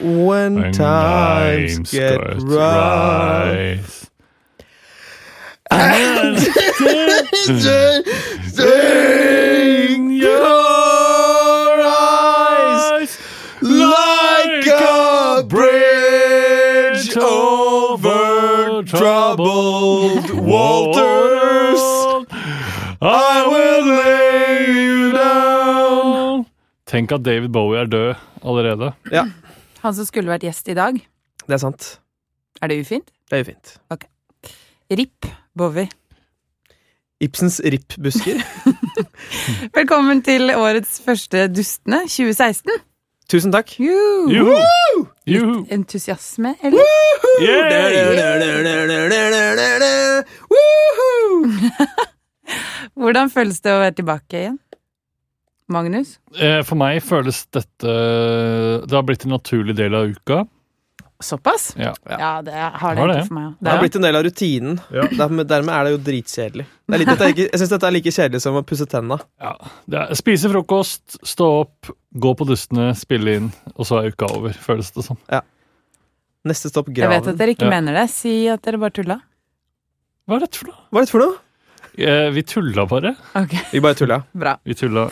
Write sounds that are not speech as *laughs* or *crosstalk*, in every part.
When times get rise. rough. *laughs* In your eyes, like a bridge over troubled waters, I will lay you down. Tenk at David Bowie er død allerede. Han som skulle vært gjest i dag. *laughs* Det er sant. Er det ufint? Det er jo fint. RIP Bowie. Ibsens rippbusker. Velkommen til årets første Dustene 2016. Tusen takk. Juhu! Juhu! Juhu! Entusiasme, eller? Yay! Woohoo! Hvordan føles det å være tilbake igjen? Magnus? Eh, For meg føles dette Det har blitt en naturlig del av uka. Såpass? Ja. Ja, det har det Har det. egentlig for meg òg. Det har blitt en del av rutinen. Dermed, dermed er det jo dritkjedelig. Det er litt, dette er ikke, jeg syns dette er like kjedelig som å pusse tenna. Ja. Det er, spise frokost, stå opp, gå på dustene, spille inn, og så er uka over, føles det som. Neste stopp Jeg vet at graven. dere ikke Ja. mener det. Si at dere bare tulla. Hva er dette for noe? Hva er dette for noe? Eh, Vi tulla bare. Ok, Vi bare tulla. bra. Vi tulla.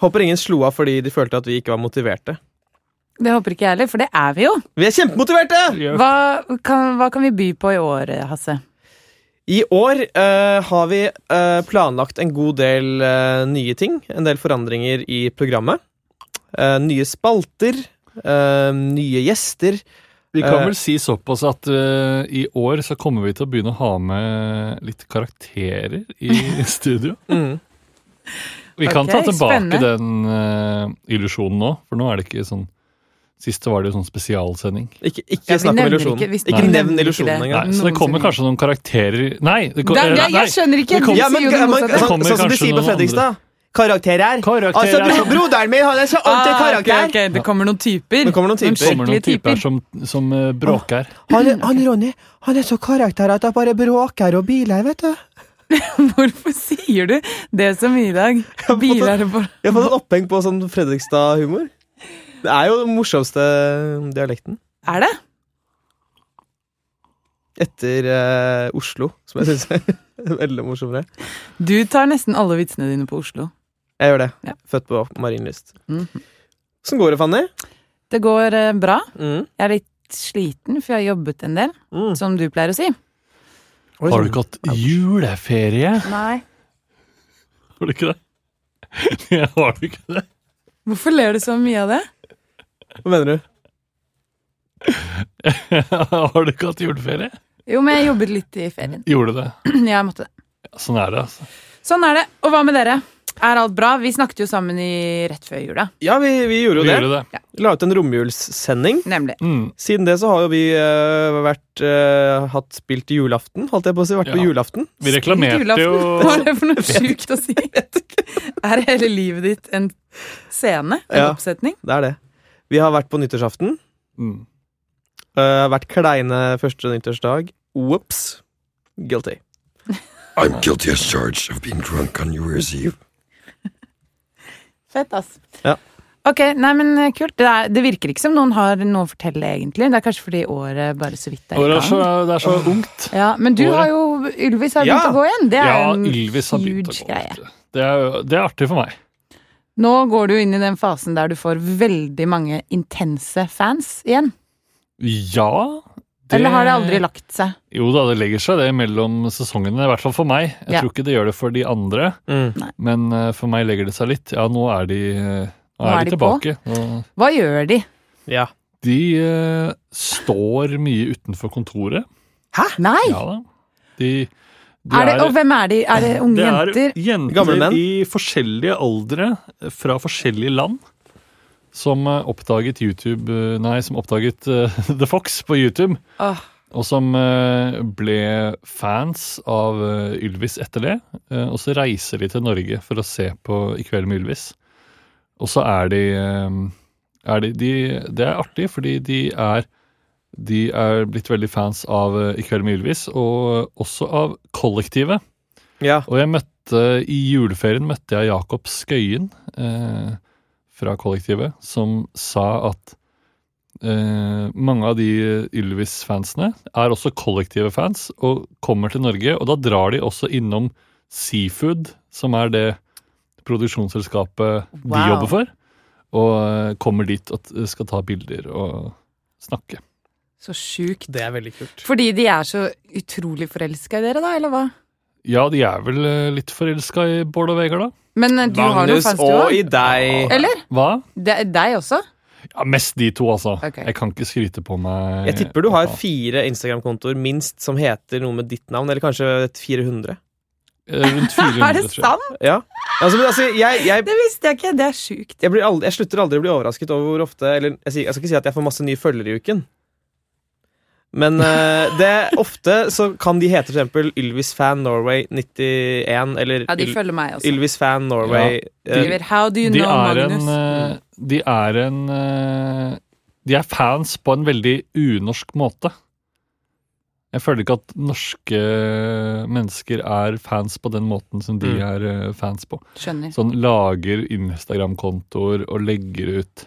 Håper ingen slo av fordi de følte at vi ikke var motiverte. Det håper ikke jeg heller, for det er vi jo. Vi er kjempemotiverte! Hva? Hva kan, hva kan vi by på i år, Hasse? I år eh, har vi eh, planlagt en god del eh, nye ting. En del forandringer i programmet. Eh, nye spalter. eh, nye gjester. Vi kan vel si såpass at eh, i år så kommer vi til å begynne å ha med litt karakterer *laughs* i studio. Mm. Vi kan Ok, ta tilbake spennende. den eh, illusjonen nå, for nå er det ikke sånn Sist var det jo sånn spesialsending. Ikke, ikke Ja, vi snakk om nevner illusjonen. ikke- vi Ikke, snakker- nevn nevner ikke illusjonen det. engang. Nei, så det kommer Noensinne. kanskje noen karakterer Nei! Det, ko- Da, eh, ja, nei. jeg skjønner ikke! Det Du kom- Ja, sier men, jo det men, motsatte. sånn, kommer sånn som de kanskje sier på noen Fredrikstad. Karakter her. Karakter Altså, er- bro, broderen min, han er så ordentlig Ah, ok, karakter. ok, Det kommer noen typer. Det kommer noen typer. Det kommer noen Skikkelige typer typer. som, som eh, bråker. Han, han Ronny, han er så karakter at jeg bare bråker og biler, vet du. Hvorfor sier du det så mye i dag? har fått- Biler på Jeg har fått en oppheng på sånn Fredrikstad-humor. Det er jo den morsomste dialekten. Er det? Etter eh, Oslo, som jeg syns er *laughs* veldig morsommere. Du tar nesten alle vitsene dine på Oslo. Jeg gjør det. Ja. Født på Marienlyst. Mhm. Åssen går det, Fanny? Det går eh, bra. Mm. Jeg er litt sliten, for jeg har jobbet en del, Mm. som du pleier å si. Oi, Har du sånn. ikke hatt juleferie? Nei. Har du ikke det? *laughs* Jeg har du ikke det? *laughs* Hvorfor ler du så mye av det? Hva mener du? Har du ikke hatt juleferie? Jo, men jeg jobbet litt i ferien. *clears throat* Gjorde du det? Jeg måtte det. Ja, Sånn er det, altså. Sånn er det. Og hva med dere? Er alt bra? Vi snakket jo sammen i rett før jula, Ja, vi, vi gjorde jo det. Gjorde det. La ut en romjulssending. nemlig. Mm. Siden det så har jo vi eh, vært eh, hatt spilt julaften, holdt jeg på å si. Vært på Ja. julaften. Vi Spilt reklamerte jo julaften. Hva er det for noe sjukt å si? Er hele livet ditt en scene? En Ja. oppsetning? Det er det. Vi har vært på nyttårsaften. *laughs* mm. eh, vært kleine første nyttårsdag. Ops. Guilty. I'm guilty as charged of being drunk on New Year's Eve. Fett, ass. Ja. Ok, nei, men eh, kult. Det, er, det virker ikke som noen har noe å fortelle, egentlig. Det er kanskje fordi året bare så vidt er Og i det er så, gang. det er så ungt. Ja, men du Året. har jo Ylvis har begynt Ja. å gå igjen. Det er Ja, en Ylvis har begynt å huge gå. greie. vet du. Det er, jo- det er artig for meg. Nå går du jo inn i den fasen der du får veldig mange intense fans igjen. Ja Eller har det aldri lagt seg? Jo da, det legger seg det mellom sesongene, i hvert fall for meg. Jeg Ja. tror ikke det gjør det for de andre, Mm. men eh, for meg legger det seg litt. Ja, nå er de, eh, nå er de, på. tilbake. Nå- Hva gjør de? Ja. De eh, står mye utenfor kontoret. Nei! Ah, Ja da. De, de er det, og hvem er de? Er det *laughs* unge det er jenter? jenter Gamle menn. i forskjellige aldre eh, fra forskjellige land som eh, oppdaget YouTube eh, Nei, som oppdaget eh, *laughs* The Fox på YouTube. Åh. Og som eh, ble fans av eh, Ylvis etter det. Eh, Og så reiser de til Norge for å se på I kveld med Ylvis. Og så er de, eh, er de, de Det er artig, fordi de er de er blitt veldig fans av eh, I kveld med Ylvis, og eh, også av Kollektivet. ja. Og jeg møtte, i juleferien møtte jeg Jakob Skøyen eh, fra kollektivet, som sa at eh, mange av de Ylvis-fansene er også kollektive fans og kommer til Norge. Og da drar de også innom Seafood, som er det produksjonsselskapet de Wow. jobber for. Og eh, kommer dit og t- skal ta bilder og snakke. Så sjukt. Det er veldig kult. Fordi de er så utrolig forelska i dere, da, eller hva? Ja, de er vel eh, litt forelska i Bård og Vegard, da. Men eh, du har noe Magnus fast, du og i òg? deg. Eller? Hva? De, deg også? *laughs* Ja, Mest de to, altså. Ok. Jeg kan ikke skryte på meg Jeg tipper du har Eh, fire Instagram-kontoer minst som heter noe med ditt navn, eller kanskje et 400. eh, Rundt 400, *laughs* Er det tror jeg. sant? Ja. Altså, men altså, jeg, jeg Det visste jeg ikke. Det er sjukt. jeg, blir aldri, jeg slutter aldri å bli overrasket over hvor ofte Eller jeg, sier- jeg skal ikke si at jeg får masse nye følgere i uken. Men eh, det ofte så kan de hete for eksempel Ylvis Fan Norway 91 eller Ja, de Yl- følger meg også. Ylvis Fan Norway eh, Skriver, How do you De know er en, Magnus? eh, de er en eh, De er fans på en veldig unorsk måte. Jeg føler ikke at norske mennesker er fans på den måten som de Mm. er eh, fans på. Skjønner. Sånn lager Instagram-kontoer og legger ut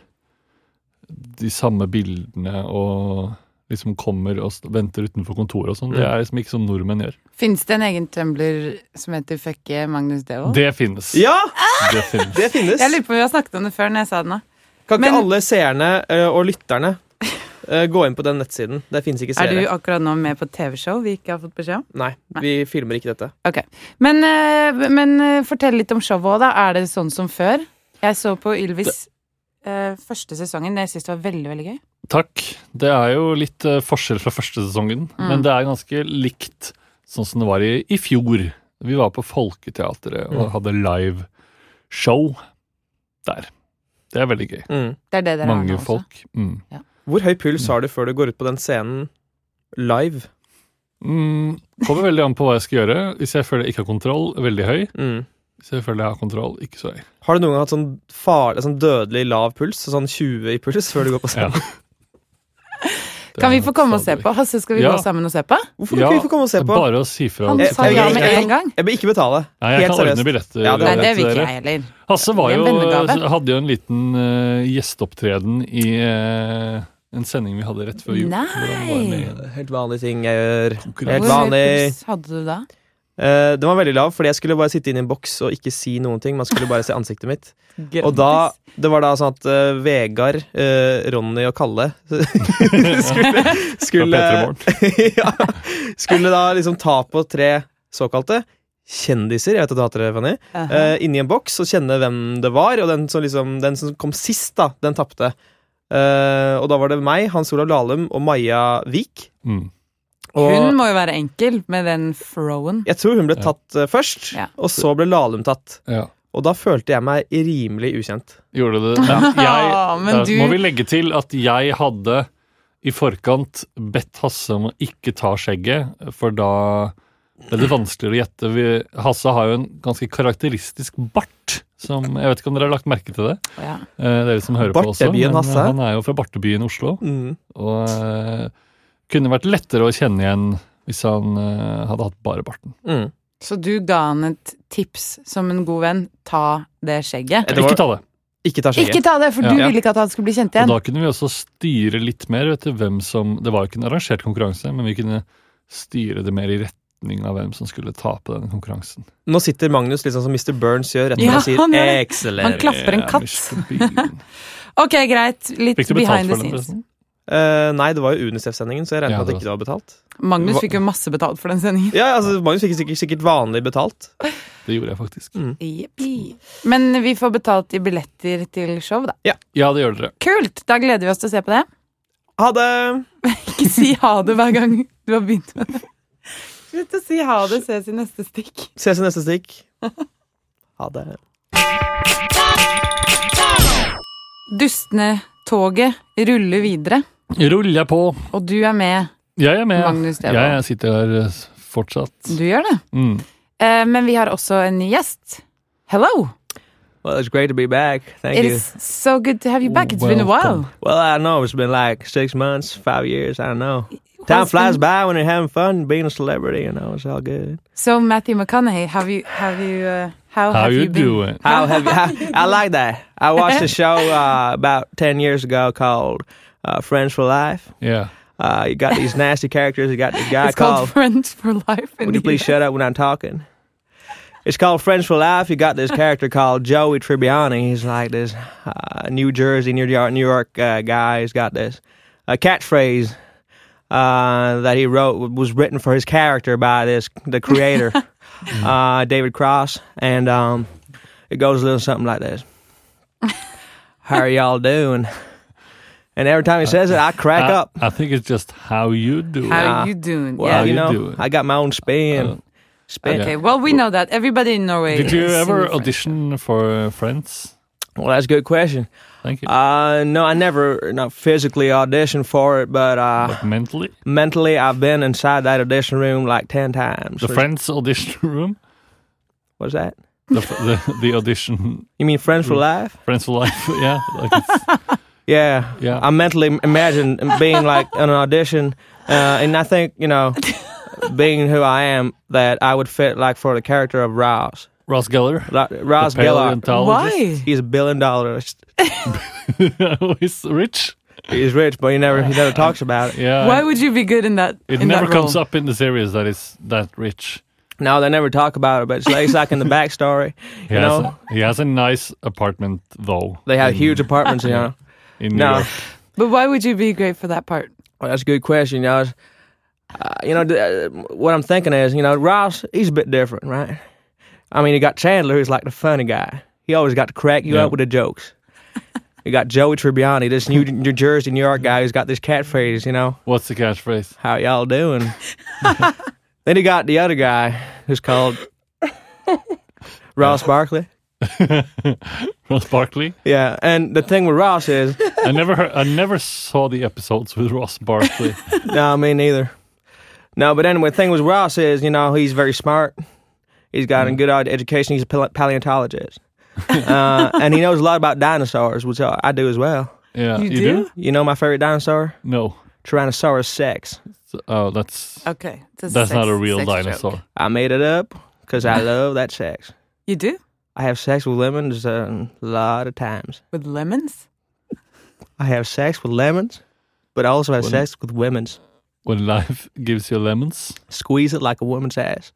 de samme bildene og liksom kommer og st- venter utenfor kontoret og sånn. Det er liksom ikke som nordmenn gjør. Fins det en egen tumbler som heter Fucke Magnus Devold? Det finnes. Ja! Det finnes. Det finnes. *laughs* Jeg lurer på om vi har snakket om det før når jeg sa det nå. Kan ikke men- alle seerne eh, og lytterne eh, gå inn på den nettsiden? Det fins ikke Er du seere. akkurat nå med på TV-show vi ikke har fått beskjed om? Nei, vi filmer ikke dette. Ok. Men, eh, men eh, fortell litt om showet òg, da. Er det sånn som før? Jeg så på Ylvis eh, første sesongen. Det syns det var veldig, veldig gøy. Takk. Det er jo litt eh, forskjell fra første sesongen, Mm. men det er ganske likt sånn som det var i, i fjor. Vi var på Folketeatret og hadde live show der. Det er veldig gøy. Mm. Det er det dere har Mange nå også. folk. Mm. Hvor høy puls har du før du går ut på den scenen live? Mm, kommer veldig an på hva jeg skal gjøre. Hvis jeg føler jeg ikke har kontroll, veldig høy. Mm. Hvis jeg føler jeg har kontroll, ikke så høy. Har du noen gang hatt sånn, farlig, sånn dødelig lav puls? Sånn 20 i puls før du går på scenen? *laughs* Det Kan vi er få komme og se stadig- på? Hasse, skal vi Ja. gå sammen og se på? Hvorfor kan Ja, vi få komme og se på? Bare å si fra. Han Jeg- sa ja med jeg- en gang. Jeg vil ikke betale. Nei, jeg Helt kan ordne seriøst. billetter. Ja, det Nei, er til det vil dere. ikke jeg heller. Hasse var Det er jo, en vennegave. hadde jo en liten eh, gjesteopptreden i eh, en sending vi hadde rett før jul. Nei. hvor han var med i en Helt vanlige ting jeg gjør. konkurranse. Helt Hvor høy vanlig. puls hadde du da? Eh, den var veldig lav, fordi jeg skulle bare sitte inne i en boks og ikke si noen ting. Man skulle bare se ansiktet mitt. Og da, det var da sånn at eh, Vegard, eh, Ronny og Kalle *laughs* *laughs* skulle, skulle, Fra Petremorgen. *laughs* ja, skulle da liksom ta på tre såkalte kjendiser, jeg vet at du hater det, Fanny, Aha. eh, inni en boks og kjenne hvem det var. Og den som, liksom, den som kom sist, da, den tapte. Eh, og da var det meg, Hans Olav Lahlum og Maja Vik. Mm. Og Hun må jo være enkel med den throwen. jeg tror hun ble tatt eh, først, Ja. og så ble Lahlum tatt. Ja. Og da følte jeg meg rimelig ukjent. Gjorde *laughs* det. Men jeg, Ah, men der du- må vi legge til at jeg hadde i forkant bedt Hasse om å ikke ta skjegget, for da ble det vanskeligere å gjette. Vi, Hasse har jo en ganske karakteristisk bart, som jeg vet ikke om dere har lagt merke til det. Ja. eh, dere som hører på også. Men Bartebyen, Hasse. han er jo fra Bartebyen Oslo. Mm. Og eh, kunne vært lettere å kjenne igjen hvis han eh, hadde hatt bare barten. Mm. Så du ga han et tips som en god venn. Ta det skjegget. Eh, det var- Ikke ta det. Ikke ta skjegget. Ikke ta det, for du Ja. ville ikke at han skulle bli kjent Og igjen. da kunne vi også styre litt mer vet du, hvem som Det var jo ikke en arrangert konkurranse, men vi kunne styre det mer i retning av hvem som skulle tape denne konkurransen. Nå sitter Magnus liksom som Mr. Burns gjør, rett og Ja, slett og han gjør sier det. Han 'excellent'. klapper en Eh, katt. Mr. *laughs* Bean. Ok, greit. Litt Fikk du betalt behind the for den? scenes. forresten? Eh, nei, det var jo Unicef-sendingen, så jeg regner Ja, med at det det ikke var betalt. Magnus Hva- fikk jo masse betalt for den sendingen. Ja, altså, Magnus fikk sikkert, sikkert vanlig betalt. Det gjorde jeg faktisk. Men vi får betalt i billetter til show, da. Ja, det gjør dere. Kult! Da gleder vi oss til å se på det. Ha det! Ikke si ha det hver gang du har begynt med det. Slutt å si ha det. Ses i neste stikk. Ses i neste *laughs* stikk. Ha det. Dustene-toget ruller videre, Ruller jeg på. og du er med. Jeg er med. Magnus Devold. jeg sitter her eh, fortsatt. Du gjør det. Mm. Eh, men vi har også en ny gjest. Hello! Well, it's great to be back. Thank It you. is so good to have you back. It's been a while. Well, I know it's been like six months, five years, I don't know. Time Time has flies flies been- by when you're having fun, being a celebrity, you know, it's all good. So Matthew McConaughey, have you have you uh, how, How have you you been? doing? *laughs* How have you, I like that. I watched a show uh, about 10 years ago called uh, Friends for Life. Yeah. Uh, you got *laughs* these nasty characters. You got the guy It's called called. Friends for Life. in Would you the please US. shut up when I'm talking? It's called Friends for Life. You got this character *laughs* called Joey Tribbiani. He's like this uh, New Jersey, New York, New York uh, guy. He's got this uh, catchphrase uh, that he wrote was written for his character by this the creator, uh, David Cross, and um, it goes a little something like this: "How are y'all doing?" And every time he says it, I crack I, up. I think it's just how you do it. How Yeah. you doing? Well, Uh, Wow, yeah. you you know, do it. I got my own spin. Uh, spin. Okay, well, we know that. Everybody in Norway. Did you is ever singing French. audition for uh, Friends? Well, that's a good question. Thank you. Uh, no, I never not physically auditioned for it, but uh, But mentally? mentally, I've been inside that audition room like ten times. The Friends audition *laughs* room? What's that? The, f- the, the audition You mean Friends for Mm. Life? Friends for Life? *laughs* Yeah. Like it's, Yeah. Yeah. I mentally imagine being like in an audition, uh, and I think you *laughs* know, being who I am, that I would fit like for the character of Ross. Ross Geller? Ra- Ross the Gellar. paleontologist? Why? He's a billion dollars. *laughs* He's rich? He's rich, but he never he never talks about *laughs* it. Yeah. Why would you be good in that? uh, it in never that role? comes up in the series that it's that rich. No, they never talk about it, but it's like, it's like in the backstory. He, You has know? a, he has a nice apartment, though. They have in- huge apartments, you know. in New No, York. But why would you be great for that part? well, Oh, that's a good question. You know, It's, uh, you know th- uh, what I'm thinking is, you know, Ross, he's a bit different, right? I mean, you got Chandler, who's like the funny guy. He always got to crack you Yeah. up with the jokes. you got Joey Tribbiani, this New New Jersey, New York guy who's got this catchphrase, you know, What's the catchphrase? how y'all doing? then you got the other guy who's called Ross Barkley. Ross Barkley? Yeah, and the thing with Ross is, I never heard, I never saw the episodes with Ross Barkley. No, me neither. No, but anyway, the thing was Ross is, you know, he's very smart. He's got a good ed- education. He's a pale- paleontologist. uh, and he knows a lot about dinosaurs, which I I do as well. Yeah, You Uh, you, do? You know my favorite dinosaur? No. Tyrannosaurus sex. So- Oh, that's Okay, that's, that's not a real dinosaur. I made it up because I love that sex. You do I have sex with lemons a lot of times. with lemons? I have sex with lemons, but I also have Wouldn't- sex with women's. When life gives you lemons, Squeeze it like a woman's ass.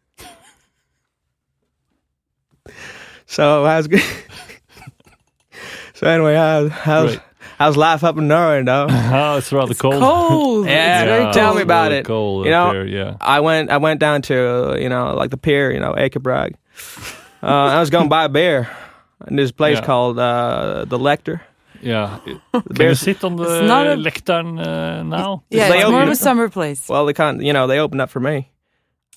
*laughs* so how's good? *laughs* so anyway, how, how's Great. how's life up in Norway, though? ah, it's rather cold. Cold. Yeah, It's very tell cold. me about really it. Cold You up know- there, yeah. I went I went down to you know like the pier, you know Akerbrag. Uh, I was going to buy a beer in this place Yeah. called uh, the Lecter. Yeah. The Can you beer's, sit on the It's not a- lectern uh, now? Yeah, They it's more open of it. a summer place. well, they can't you know they opened up for me. I'm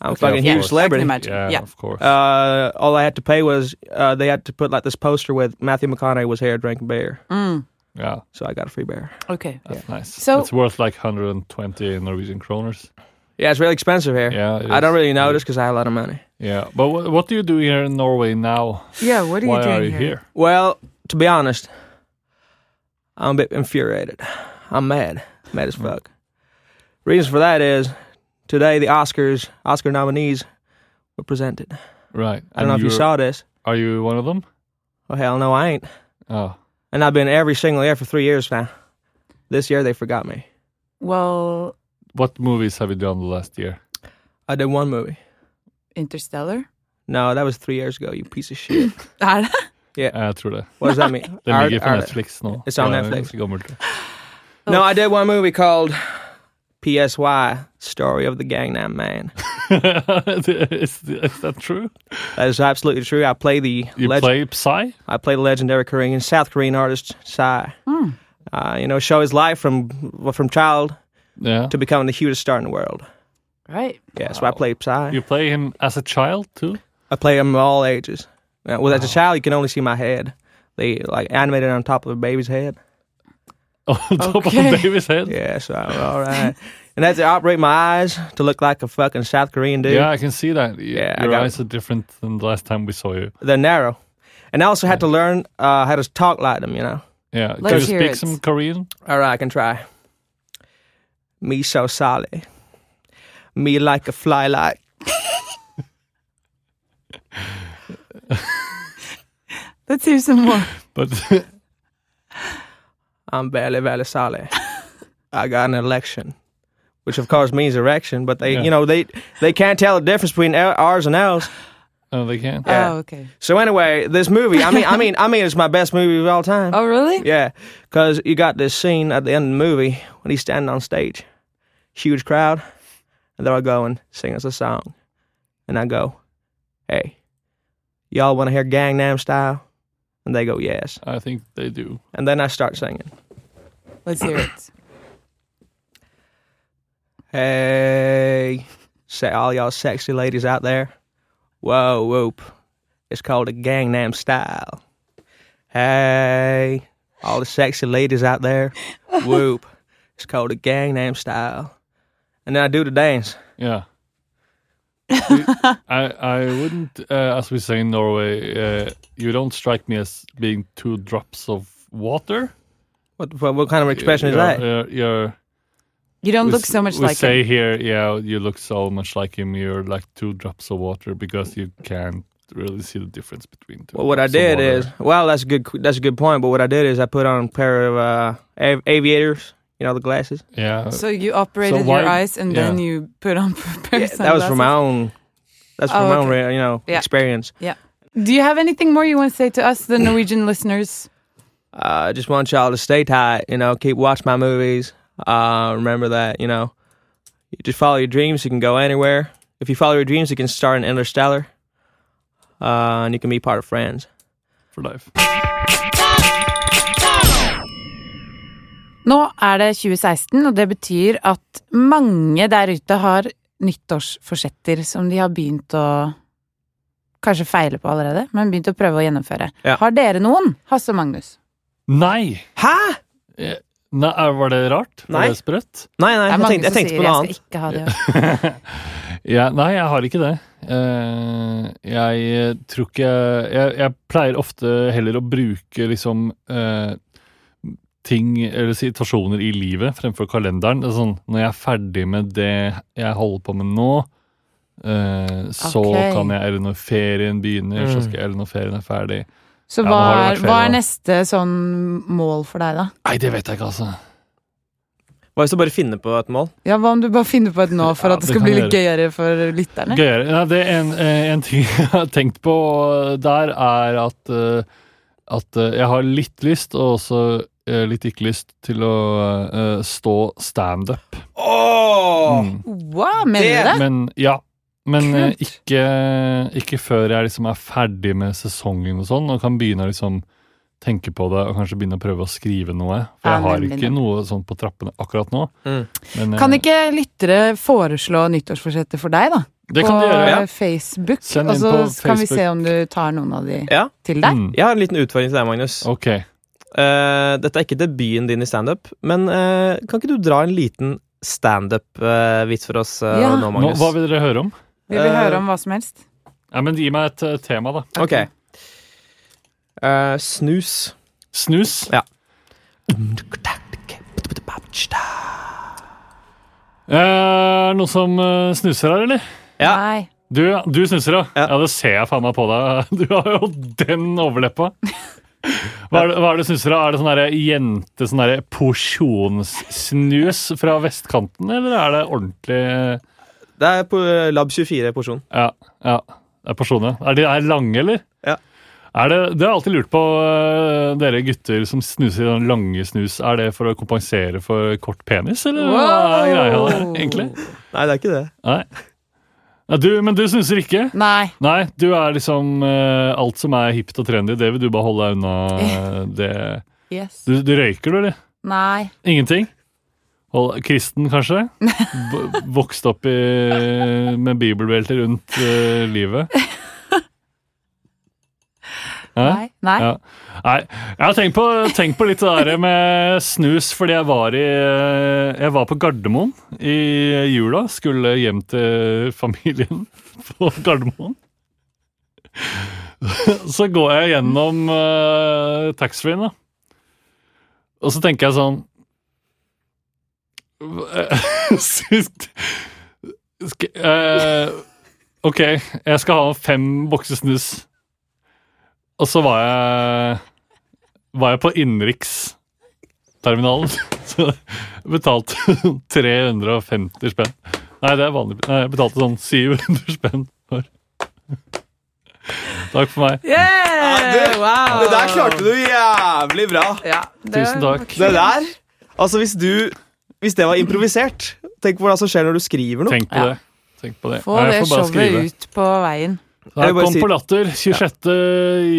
a Okay, fucking of huge course. celebrity. I can imagine. Yeah. of course. Uh, all I had to pay was uh, they had to put like this poster with Matthew McConaughey was here drinking beer, Mm, yeah, so I got a free beer. okay. that's nice. So- it's worth like 120 Norwegian kroners. Yeah, it's really expensive here. Yeah, it I don't is. really notice because I have a lot of money. Yeah, but what, what do you do here in Norway now? Yeah, what are Why you doing are you here? Well, to be honest, I'm a bit infuriated. I'm mad, mad Hmm. as fuck. Reasons for that is today the Oscars, Oscar nominees were presented. Right. I don't know and if you you're- saw this. Are you one of them? Oh hell no, I ain't. Oh, And I've been every single year for three years now. This year they forgot me. Well, what movies have you done the last year? I did one movie. Interstellar. *laughs* No, that was three years ago. You piece of shit. Er det? Uh, tror det. What does *laughs* that mean? Den Art- ligger på art- Netflix nå. It's on Ja, Netflix. den er ganske *laughs* gammel. No, I did one movie called PSY: Story of the Gangnam Man. er- is, is that true? That is absolutely true. I play the You leg- play Psy? I play the legendary Korean South Korean artist Psy. Hmm. Uh, you know, show his life from from child Yeah. to becoming the hugest star in the world. Right. Yeah, so I play Psy. You play him as a child too? *laughs* I play him all ages. Uh, well, as a child, you can only see my head. They like animated on top of a baby's head. On top Okay. of Davis head? *laughs* Yeah, so all right. And I had to operate my eyes to look like a fucking South Korean dude. Yeah, I can see that. Y- Yeah, I Your got eyes are different than the last time we saw you. They're narrow. And I also had to learn uh, how to talk like them, you know. Yeah. Can Let's you hear speak it. some Korean? All right, I can try. Me so solid. Me like a fly like. Let's hear some more. But *laughs* I'm veldig, veldig solid. I got an election. Which of course means erection, but they, you know, they they can't tell the difference between our- ours and ours. Oh, they can't? Yeah. Oh, okay. So anyway, this movie, I mean, I mean, I mean, it's my best movie of all time. Oh, really? Yeah, because you got this scene at the end of the movie when he's standing on stage, huge crowd, and they're all going, sing us a song. And I go, hey, y'all want to hear Gangnam Style? And they go, yes. I think they do. And then I start singing. Let's hear it. Hey, say all y'all sexy ladies out there. Whoa, whoop. It's called a Gangnam Style. Hey, all the sexy ladies out there. Whoop. It's called a Gangnam Style. And then I do the dance. *laughs* Yeah. You- I I wouldn't, uh, as we say in Norway, uh, you don't strike me as being two drops of water. What, what, what kind of expression is You're- that? You're, you're- You don't we look s- so much we like say him. here, yeah, you look so much like him. You're like two drops of water because you can't really see the difference between two. Well, what I drops of did water. is, well, that's a good, that's a good point. But what I did is I put on a pair of uh, av- aviators, you know, the *laughs* glasses. yeah, So you operated uh, why- your eyes and then yeah. you put on *laughs* pair Yeah, of that was for my sunglasses. own, that's for Oh, my own, okay. real, you know, Yeah. experience. Do you have anything more you want to say to us, the Norwegian listeners? Uh, I just want y'all to stay tight, you know, keep watch my movies. Uh, remember that, you know, you just follow your dreams, you can go anywhere. If you follow your dreams, you can start an interstellar. Uh, and you can be part of friends. for life. Nå er det 2016, og det betyr at mange der ute har nyttårsforsetter som de har begynt å Kanskje feile på allerede, men begynt å prøve å gjennomføre. Ja. Har dere noen, Hasse og Magnus? Nei! Hæ? Eh, Nei, Var det rart? Var Nei. det sprøtt? Nei, nei, Det er jeg mange tenkte, jeg som tenkte på sier noe 'jeg skal annet. ikke ha det'. *laughs* Ja, nei, jeg har ikke det. Eh, jeg eh, tror ikke jeg, jeg pleier ofte heller å bruke liksom eh, ting eller situasjoner i livet fremfor kalenderen. Det er sånn, når jeg er ferdig med det jeg holder på med nå, eh, så Ok. kan jeg Eller når ferien begynner, så Mm. skal jeg Eller når ferien er ferdig. Så Ja, nå hva har er, det vært hva ferie, er da. neste sånn mål for deg, da? Nei, det vet jeg ikke, altså. Hva hvis du bare finner på et mål? Ja, Hva om du bare finner på et nå for Ja, at det det skal kan bli vi litt gøyere for lytterne? Gøyere. Ja, det er en, eh, en ting *laughs* jeg har tenkt på der, er at, eh, at eh, jeg har litt lyst, og også eh, litt ikke lyst, til å eh, stå standup. Åh! Mm. Wow, mener du det? Men ja. Men eh, Kult. ikke, ikke før jeg liksom er ferdig med sesongen og sånn, og kan begynne å liksom tenke på det og kanskje begynne å prøve å skrive noe. For Ja, jeg har nemlig, ikke nemlig. noe sånn på trappene akkurat nå. Mm. Men, eh, Kan ikke lyttere foreslå nyttårsforsetter for deg, da? det kan på du gjøre. ja. Facebook, Send og inn så på kan vi Facebook. se om du tar noen av de Ja. til deg. Mm. Jeg har en liten utfordring til deg, Magnus. Ok. Eh, dette er ikke debuten din i standup, men eh, kan ikke du dra en liten standup-vits for oss eh, Ja. nå, Nå, Magnus? hva vil dere høre om? Vi vil Eh, høre om hva som helst. Ja, men Gi meg et eh, tema, da. Ok. Eh, snus. Snus. Ja. Er det noen som eh, snuser her, eller? Ja. Nei. Du, du snuser, ja. ja. Ja. det ser jeg faen meg på deg. *laughs* Du har jo den *laughs* overleppa. Hva er, det, hva er det du snuser av? Er det sånn derre jente sånn derre porsjonssnus fra vestkanten, eller er det ordentlig Det er på eh, Lab 24 porsjon. Ja. ja det er porsjoner. Er de er lange, eller? Ja. Er det, det har jeg alltid lurt på, eh, dere gutter som snuser i den lange snus. Er det for å kompensere for kort penis, eller hva er greia der, Wow. egentlig? Nei, det er ikke det. Nei. Nei du, men du snuser ikke? Nei. Nei, du er liksom eh, Alt som er hipt og trendy, det vil du bare holde deg unna. eh, det. Yes. Du, du røyker, du, eller? Nei. Ingenting? Hold, kristen, kanskje? B vokst opp i, med bibelbelte rundt eh, livet? Hæ? Nei. Nei. Ja. Nei, jeg har tenkt på, tenkt på litt det der med snus, fordi jeg var, i, jeg var på Gardermoen i jula. Skulle hjem til familien *laughs* på Gardermoen. Så går jeg gjennom uh, taxfree-en, da. Og så tenker jeg sånn *laughs* Sist Sk- eh, Ok, jeg skal ha fem bokser snus. Og så var jeg Var jeg på innenriks terminalen. *laughs* Så jeg betalte *laughs* 350 spenn. Nei, det er vanlig. Nei, jeg betalte sånn 700 spenn. for. Takk for meg. Ja, det- wow. Det der klarte du jævlig bra. Ja, det Tusen var takk. Det der Altså, hvis du Hvis det var improvisert, tenk på hva som skjer når du skriver noe. Tenk på Ja. det. Tenk på det. Få Nei, det jeg får bare skrive. showet ut på veien. Jeg Her vil bare kom si- på latter 26.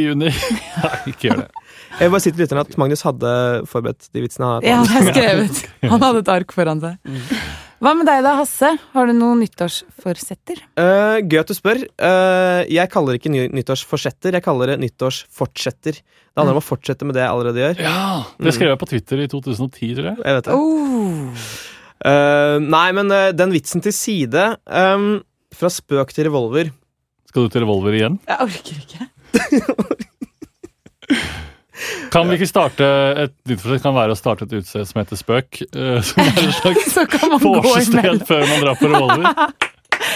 juni. *laughs* Nei, ikke gjør det. Jeg vil bare si til lytterne at Magnus hadde forberedt de vitsene. han- Ja, det er skrevet. Han hadde et ark foran seg. Hva med deg da, Hasse? Har du noen nyttårsforsetter? Eh, gøy at du spør. Eh, jeg kaller det ikke ny nyttårsforsetter, jeg kaller det nyttårsfortsetter. Det handler om å fortsette med det jeg allerede gjør. Ja, Det skrev jeg på Twitter i 2010, tror jeg. Jeg vet det. Oh. Eh, nei, men eh, den vitsen til side. ehm, fra spøk til revolver. Skal du til revolver igjen? Jeg orker ikke. Kan vi ikke starte et nytt forsøk? Kan være å starte et utested som heter Spøk. eh, *laughs* Som er *laughs* et slags Så kan man gå imellom. vorsested før man drar på revolver.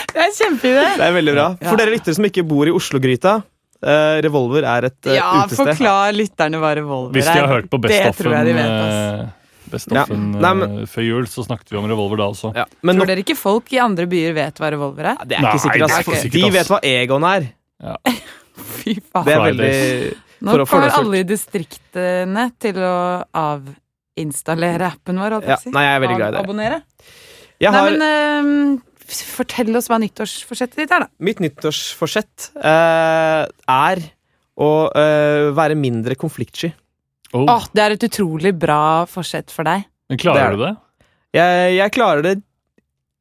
Det er en kjempeidé! Det er veldig bra. For Ja. dere lyttere som ikke bor i Oslo-gryta, eh, revolver er et eh, Ja, utested. forklar lytterne hva revolver er. Hvis de har hørt på Best Det tror jeg de Offen, vet, ass. eh, Best Ja. Offen eh, Nei, men- før jul, så snakket vi om revolver da også. Ja, men Tror nok, dere ikke folk i andre byer vet hva revolver er? altså. det er ikke Nei, sikkert, det er ass. ikke For- sikkert, De ass. vet hva Egon er. Fy Det er faen. veldig Nå for- kommer fordomsfullt. alle i distriktene til å avinstallere appen vår. holdt jeg ja, på å si. Nei, jeg er veldig glad i dere. Abonnere. Jeg Nei, har, men ehm, f- fortell oss hva nyttårsforsettet ditt er, da. mitt nyttårsforsett eh, er å eh, være mindre konfliktsky. Oh, Åh, det er et utrolig bra forsett for deg. men det er klarer du det? Jeg, jeg klarer det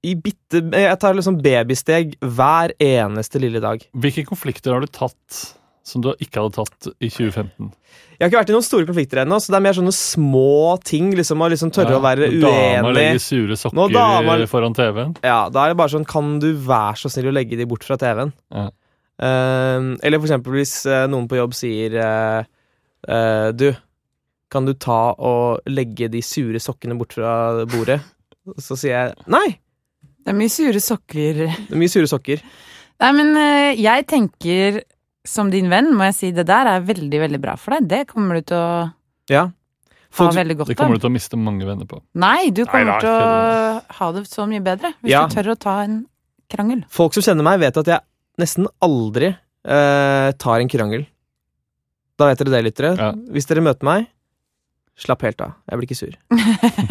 i bitte Jeg tar liksom babysteg hver eneste lille dag. Hvilke konflikter har du tatt som du ikke hadde tatt i 2015? Jeg har ikke vært i noen store konflikter ennå, så det er mer sånne små ting. liksom Å liksom tørre Ja, å være når Dama legger uenig. sure Når sokker dama- foran TV-en. Ja, Da er det bare sånn Kan du være så snill å legge de bort fra TV-en? Ja. Eh, eller for eksempel hvis eh, noen på jobb sier eh, eh, Du, kan du ta og legge de sure sokkene bort fra bordet? *laughs* Så sier jeg nei! Det er mye sure sokker. Det er mye sure sokker. Nei, men eh, jeg tenker som din venn, må jeg si, det der er veldig, veldig bra for deg. Det kommer du til å Ja. ha Folk- veldig Det godt kommer du av. til å miste mange venner på. Nei, du kommer Neida, til å ha det så mye bedre hvis Ja. du tør å ta en krangel. Folk som kjenner meg, vet at jeg nesten aldri eh, tar en krangel. Da vet dere det, lyttere. Ja. Hvis dere møter meg, slapp helt av. Jeg blir ikke sur.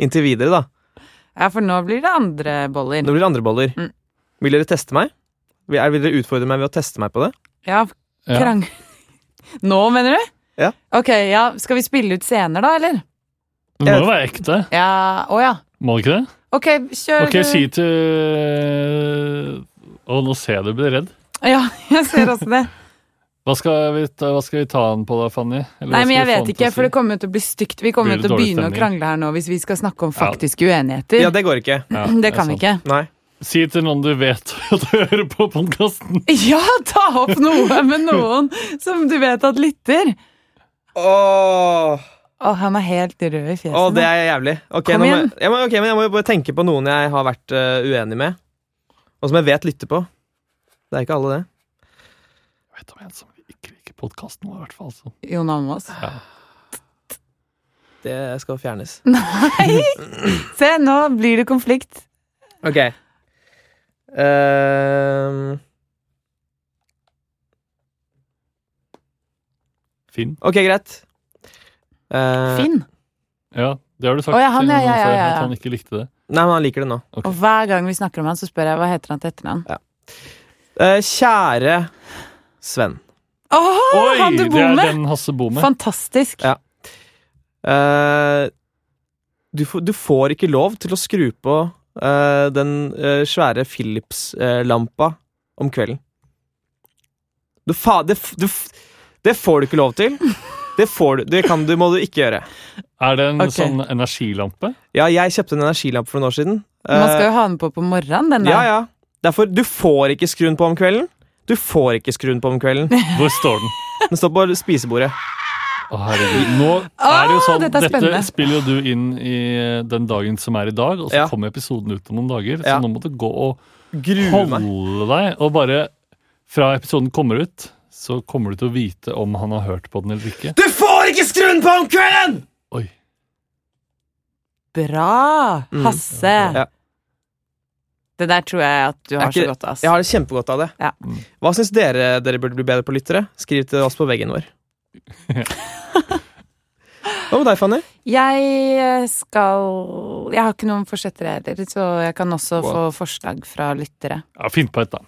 Inntil videre, da. Ja, for nå blir det andre boller. Nå blir det andre boller. Mm. Vil dere teste meg? Vil er- vil dere utfordre meg ved å teste meg på det? Ja, Ja. krang... *laughs* Nå, mener du? Ja. Ok, ja, skal vi spille ut scener da, eller? Det må jo være ekte, Ja, å ja. må det ikke det? Ok, kjør Ok, du- si til Å, nå ser jeg du blir redd. Ja, jeg ser også *laughs* det. Hva skal vi ta, hva skal vi ta den på da, Fanny? Eller Nei, hva men skal vi jeg få vet den ikke, til å for si? det kommer jo til å bli stygt. Vi kommer Blir jo det til å dårlig begynne å stemning? krangle her nå hvis vi skal snakke om Ja. faktiske uenigheter. Ja, det går ikke. Ja, *laughs* det er kan vi sant. ikke. Nei. Si til noen du vet *laughs* at hører på podkasten. Ja, ta opp noe med noen som du vet at lytter. Åh, Å, han er helt rød i fjeset. åh, det nå. er jævlig. Ok, nå Kom må jeg, igjen. jeg må, ok, men jeg må jo bare tenke på noen jeg har vært eh, uenig med, og som jeg vet lytter på. Det er ikke alle, det. Jeg vet om en som ikke liker podkasten vår, i hvert fall. Så. Jon Almaas. Det skal fjernes. Nei! Se, nå blir det konflikt. Ok. Ehm, Finn. ok, greit. Eh, Finn. Ja, det har du sagt Å, ja, han, til ja, noen ja, ja, før, ja. at han ikke likte det. Nei, men han liker det nå. Og hver gang vi snakker om han, så spør jeg hva heter han til etternavn. Eh, kjære Sven. Åh, Oi, han du det bor er med! den Hasse bor med. Fantastisk. Ja. Eh, du, får- du får ikke lov til å skru på eh, den eh, svære Philips-lampa om kvelden. Du fa... Det, f- du, f- det får du ikke lov til. Det, får du, det kan du, må du ikke gjøre. Er det en Ok. sånn energilampe? Ja, jeg kjøpte en energilampe for noen år siden. Man Eh, skal jo ha den på på morgenen, den der. Ja, ja. Derfor, du får ikke skru den på om kvelden. Du får ikke skru den på om kvelden. *laughs* Hvor står den? Den står på spisebordet. Å, herregud. Nå er det jo sånn, dette er dette, spennende. spiller jo du inn i eh, den dagen som er i dag, og så Ja. kommer episoden ut om noen dager. Så Ja. nå må du gå og Gruer meg. holde deg, og bare fra episoden kommer ut, så kommer du til å vite om han har hørt på den eller ikke. Du får ikke skru den på om kvelden! Oi, Bra! Mm. Hasse! Ja. Det der tror jeg at du Er har ikke- så godt av. ass. Jeg har det kjempegodt av det. Ja. Mm. Hva syns dere dere burde bli bedre på lyttere? Skriv til oss på veggen vår. Hva med deg, Fanny? Jeg eh, skal Jeg har ikke noen forsetter heller, så jeg kan også Wow. få forslag fra lyttere. Ja, Finn på et, da.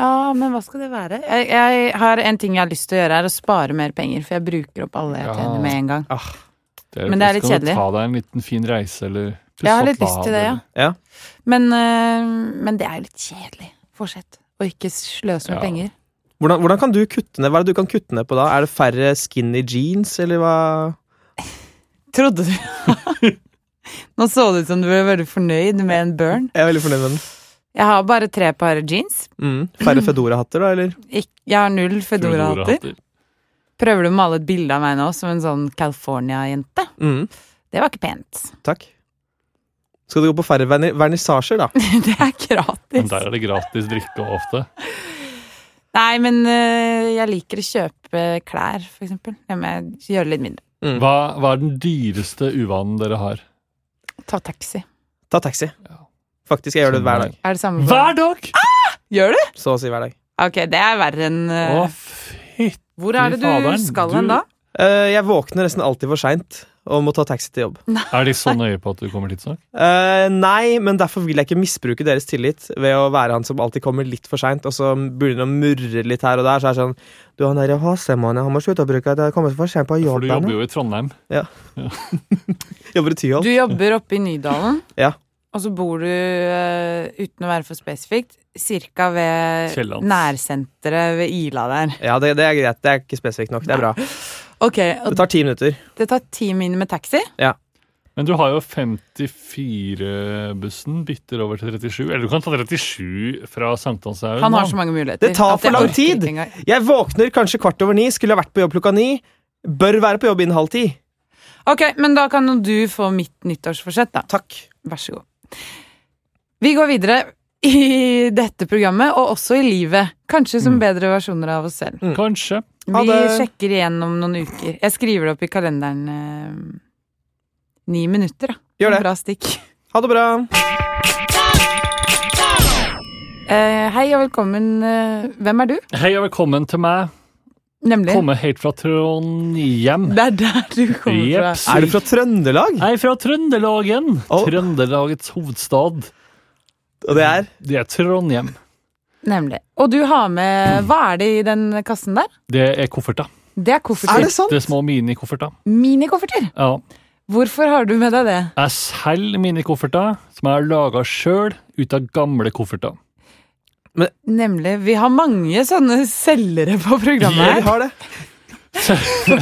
Ja, men hva skal det være? Jeg, jeg har en ting jeg har lyst til å gjøre, er å spare mer penger, for jeg bruker opp alle jeg Ja. tjener med en gang. jo- Men det er litt skal du kjedelig. Ta deg en liten fin reise, eller pusse Jeg har litt opp lyst til det, badet, ja. Ja. Men, øh, men det er jo litt kjedelig forsett å ikke sløse med Ja. penger. Hvordan, hvordan kan du kutte ned? Hva er det du kan kutte ned på da? Er det færre skinny jeans, eller hva? Trodde du *laughs* Nå så det ut som du ble veldig fornøyd med en burn. Jeg er veldig fornøyd med den. Jeg har bare tre par jeans. Mm. Færre Fedora-hatter, da, eller? Ik jeg har null Fedora-hatter. Fedora-hatter. Prøver du å male et bilde av meg nå som en sånn California-jente? Mm. Det var ikke pent. *laughs* Takk. Skal du gå på færre verni- vernissasjer, da? det er Men gratis. der er det gratis drikke ofte. Nei, men øh, jeg liker å kjøpe klær, for eksempel. Jeg må gjøre det litt mindre. Mm. Hva, hva er den dyreste uvanen dere har? Ta taxi. Ta taxi. Ja. Faktisk, jeg gjør det hver dag. Er det samme for- Hver dag! Gjør du? Så å si hver dag. Ok, det er verre enn øh, Å, fytti Hvor er det du faderen, skal du- hen da? Eh, jeg våkner nesten alltid for seint og må ta taxi til jobb. Er de så nøye på at du kommer tidsnok? Eh, nei, men derfor vil jeg ikke misbruke deres tillit ved å være han som alltid kommer litt for seint, og så begynner han å murre litt her og der. Så er det sånn Du, han derre Hasemannen, han må slutte å bruke det. Jeg kommer for seint på For jobb. du her jobber nå.» jo i Trondheim. Jobber i Tyholt. Du jobber oppe i Nydalen, Ja. og så bor du, øh, uten å være for spesifikt, cirka ved Kiellands. nærsenteret ved Ila der. Ja, det, det er greit. Det er ikke spesifikt nok. Det er bra. Ok, og Det tar ti minutter. det tar ti minutter med taxi. Men du har jo 54-bussen, bytter over til 37. Eller du kan ta 37 fra Sankthanshaugen. Han har da. så mange muligheter. Det tar at jeg for lang orker tid. ikke engang. Jeg våkner kanskje kvart over ni, skulle ha vært på jobb klokka ni. Bør være på jobb innen halv ti. Ok, men da kan jo du få mitt nyttårsforsett, da. Takk. Vær så god. Vi går videre i dette programmet, og også i livet. Kanskje som Mm. bedre versjoner av oss selv. Kanskje. Ha Vi det. sjekker igjen om noen uker. Jeg skriver det opp i kalenderen eh, ni minutter, da. Gjør det. Bra stikk. Ha det bra. Eh, hei og velkommen. eh, hvem er du? Hei og velkommen til meg. Nemlig. Komme helt fra Trondheim. Det er der du kommer Jeps. Er du fra Trøndelag? Jeg er fra Trøndelagen. Å. Trøndelagets hovedstad. Og det er Det er Trondheim. fra. Nemlig. Og du har med Hva er det i den kassen der? Det er kofferta. Det er Er kofferter. det sant? Det er små minikofferta. Minikofferter! Ja. Hvorfor har du med deg det? Jeg selger minikofferter som jeg har laga sjøl ut av gamle kofferter. Nemlig. Vi har mange sånne selgere på Ja, vi programmet her. har det. Men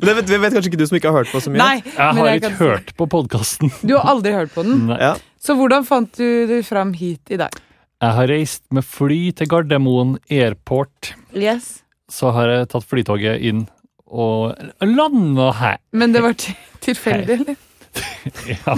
det vet, det vet kanskje ikke du som ikke har hørt på så mye. Nei, Jeg men har jeg ikke kan si- hørt på *laughs* podkasten. Du har aldri hørt på den. Jeg Ja. Så hvordan fant du det fram hit i dag? har reist med fly til Gardermoen airport. Yes. Så har jeg tatt flytoget inn og landa her. *laughs* Men det var til- tilfeldig, eller? Ja,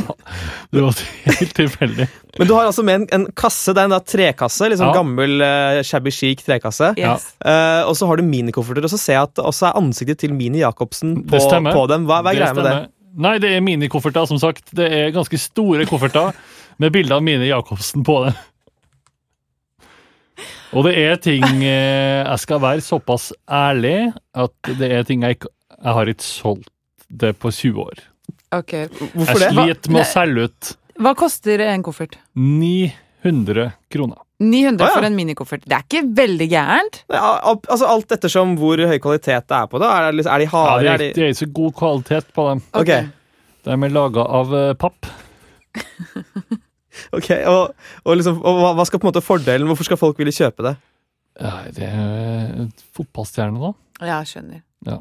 det var helt tilfeldig. Men du har altså med en, en kasse. Det er en da trekasse. Liksom Ja. Gammel, eh, shabby chic trekasse. *laughs* Yes. Eh, og så har du minikofferter, og så ser jeg at det også er ansiktet til Mini Jacobsen på, Det stemmer. på dem. Hva, hva er Det greia med det? stemmer. Nei, det er minikofferter, som sagt. Det er ganske store kofferter med bilde av Mine Jacobsen på det. Og det er ting eh, Jeg skal være såpass ærlig at det er ting jeg ikke Jeg har ikke solgt det på 20 år. Ok. Jeg Hvorfor det? Hva- sliter med å selge ut Hva koster en koffert? 900 kroner. 900 Å, ja. for en minikoffert. Det er ikke veldig gærent. Ja, al- altså Alt ettersom hvor høy kvalitet det er på det. Er, det, liksom- er de Ja, harde? det, er er, de det er ikke så god kvalitet på dem. Ok. De er laga av eh, papp. Ok, Og, og, liksom, og hva- hva skal på en måte fordelen? Hvorfor skal folk ville kjøpe det? Ja, det er et fotballstjerne, da. Ja, jeg skjønner. Ja.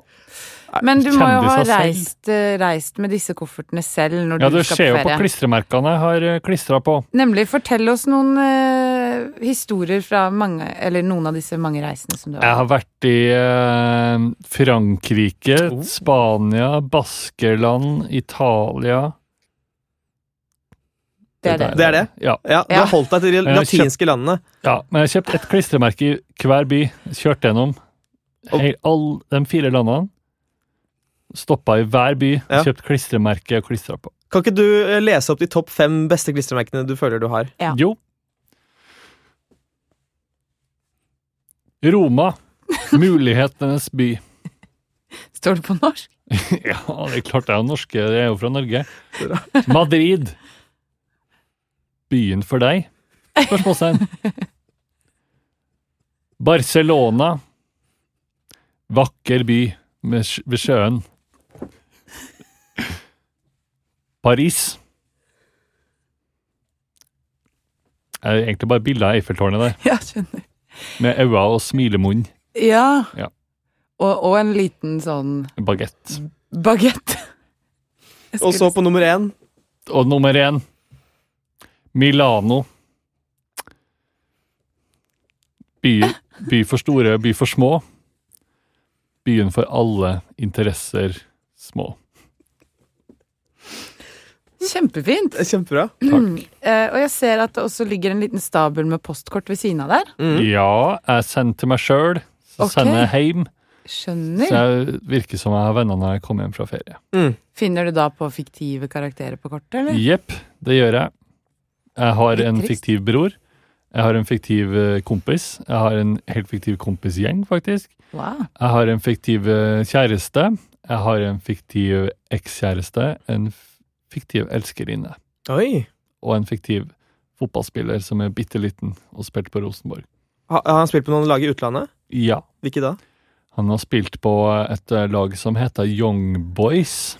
Men du må jo ha Kjendiser selv. reist, eh, reist med disse koffertene selv når Ja, du Det skal ser på jo på ferie. klistremerkene jeg har klistra på. Nemlig, fortell oss noen eh, historier fra mange, eller noen av disse mange reisene som du Jeg har. har vært i eh, Frankrike, Oh. Spania, Baskeland, Italia. Det er det. Det er det? Ja. Ja, Du Ja. har holdt deg til Jeg de har kjøpt- latinske landene. ja. Men jeg har kjøpt et klistremerke i hver by. Kjørt gjennom Og- Hei, alle de fire landene. Stoppa i hver by, Ja. kjøpt klistremerke og klistra på. Kan ikke du eh, lese opp de topp fem beste klistremerkene du føler du har? Ja. Jo. *laughs* Roma. Mulighetenes by. Står det på norsk? *laughs* Ja, det er klart det er jo norske. Jeg er jo fra Norge. Madrid. Byen for deg? Spørsmålstegn. Barcelona. Vakker by med, sj- ved sjøen. Paris. Det er egentlig bare bilde av Eiffeltårnet der, *laughs* Ja, skjønner. med øyne og smilemunn. Ja. Ja. Og, og en liten sånn Bagett. bagett. *laughs* Jeg Og så skulle- på nummer én Og nummer én Milano. By, by for store, by for små. Byen for alle interesser små. Kjempefint. Det er Kjempebra. Takk. Eh, og jeg ser at det også ligger en liten stabel med postkort ved siden av der. Mm. Ja, jeg sender til meg sjøl. Så Ok. sender jeg hjem. Så Skjønner. jeg virker som jeg har venner når jeg kommer hjem fra ferie. Finner du da på fiktive karakterer på kortet, eller? Jepp, det gjør jeg. Jeg har Litt en trist. fiktiv bror. Jeg har en fiktiv eh, kompis. Jeg har en helt fiktiv kompisgjeng, faktisk. Wow. Jeg har en fiktiv eh, kjæreste. Jeg har en fiktiv ekskjæreste. En f- fiktiv elskerinne. Oi. Og en fiktiv fotballspiller som er bitte liten og spilte på Rosenborg. Ha- Har han spilt på noen lag i utlandet? Ja. Hvilke da? Han har spilt på et eh, lag som heter Young Boys.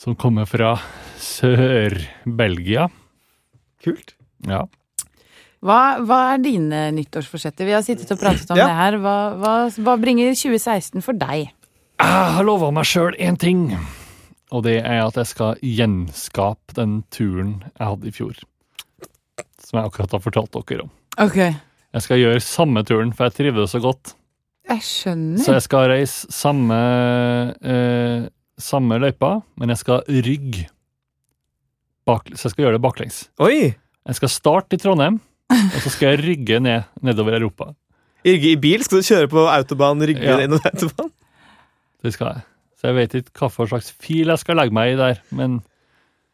Som kommer fra Sør-Belgia. Kult. Ja. Hva, hva er dine nyttårsforsetter? Vi har sittet og pratet om Ja. det her. Hva, hva, hva bringer 2016 for deg? Jeg har lova meg sjøl én ting, og det er at jeg skal gjenskape den turen jeg hadde i fjor. Som jeg akkurat har fortalt dere om. Ok, Jeg skal gjøre samme turen, for jeg trivdes så godt. jeg skjønner. Så jeg skal reise samme, eh, samme løypa, men jeg skal rygge. Bak, så jeg skal gjøre det baklengs. Oi! Jeg skal starte i Trondheim, og så skal jeg rygge ned nedover Europa. Rygge i bil? Skal du kjøre på autobahn? Rygge Ja. innover autobahn? Det skal jeg. Så jeg vet ikke hva for slags fil jeg skal legge meg i der, men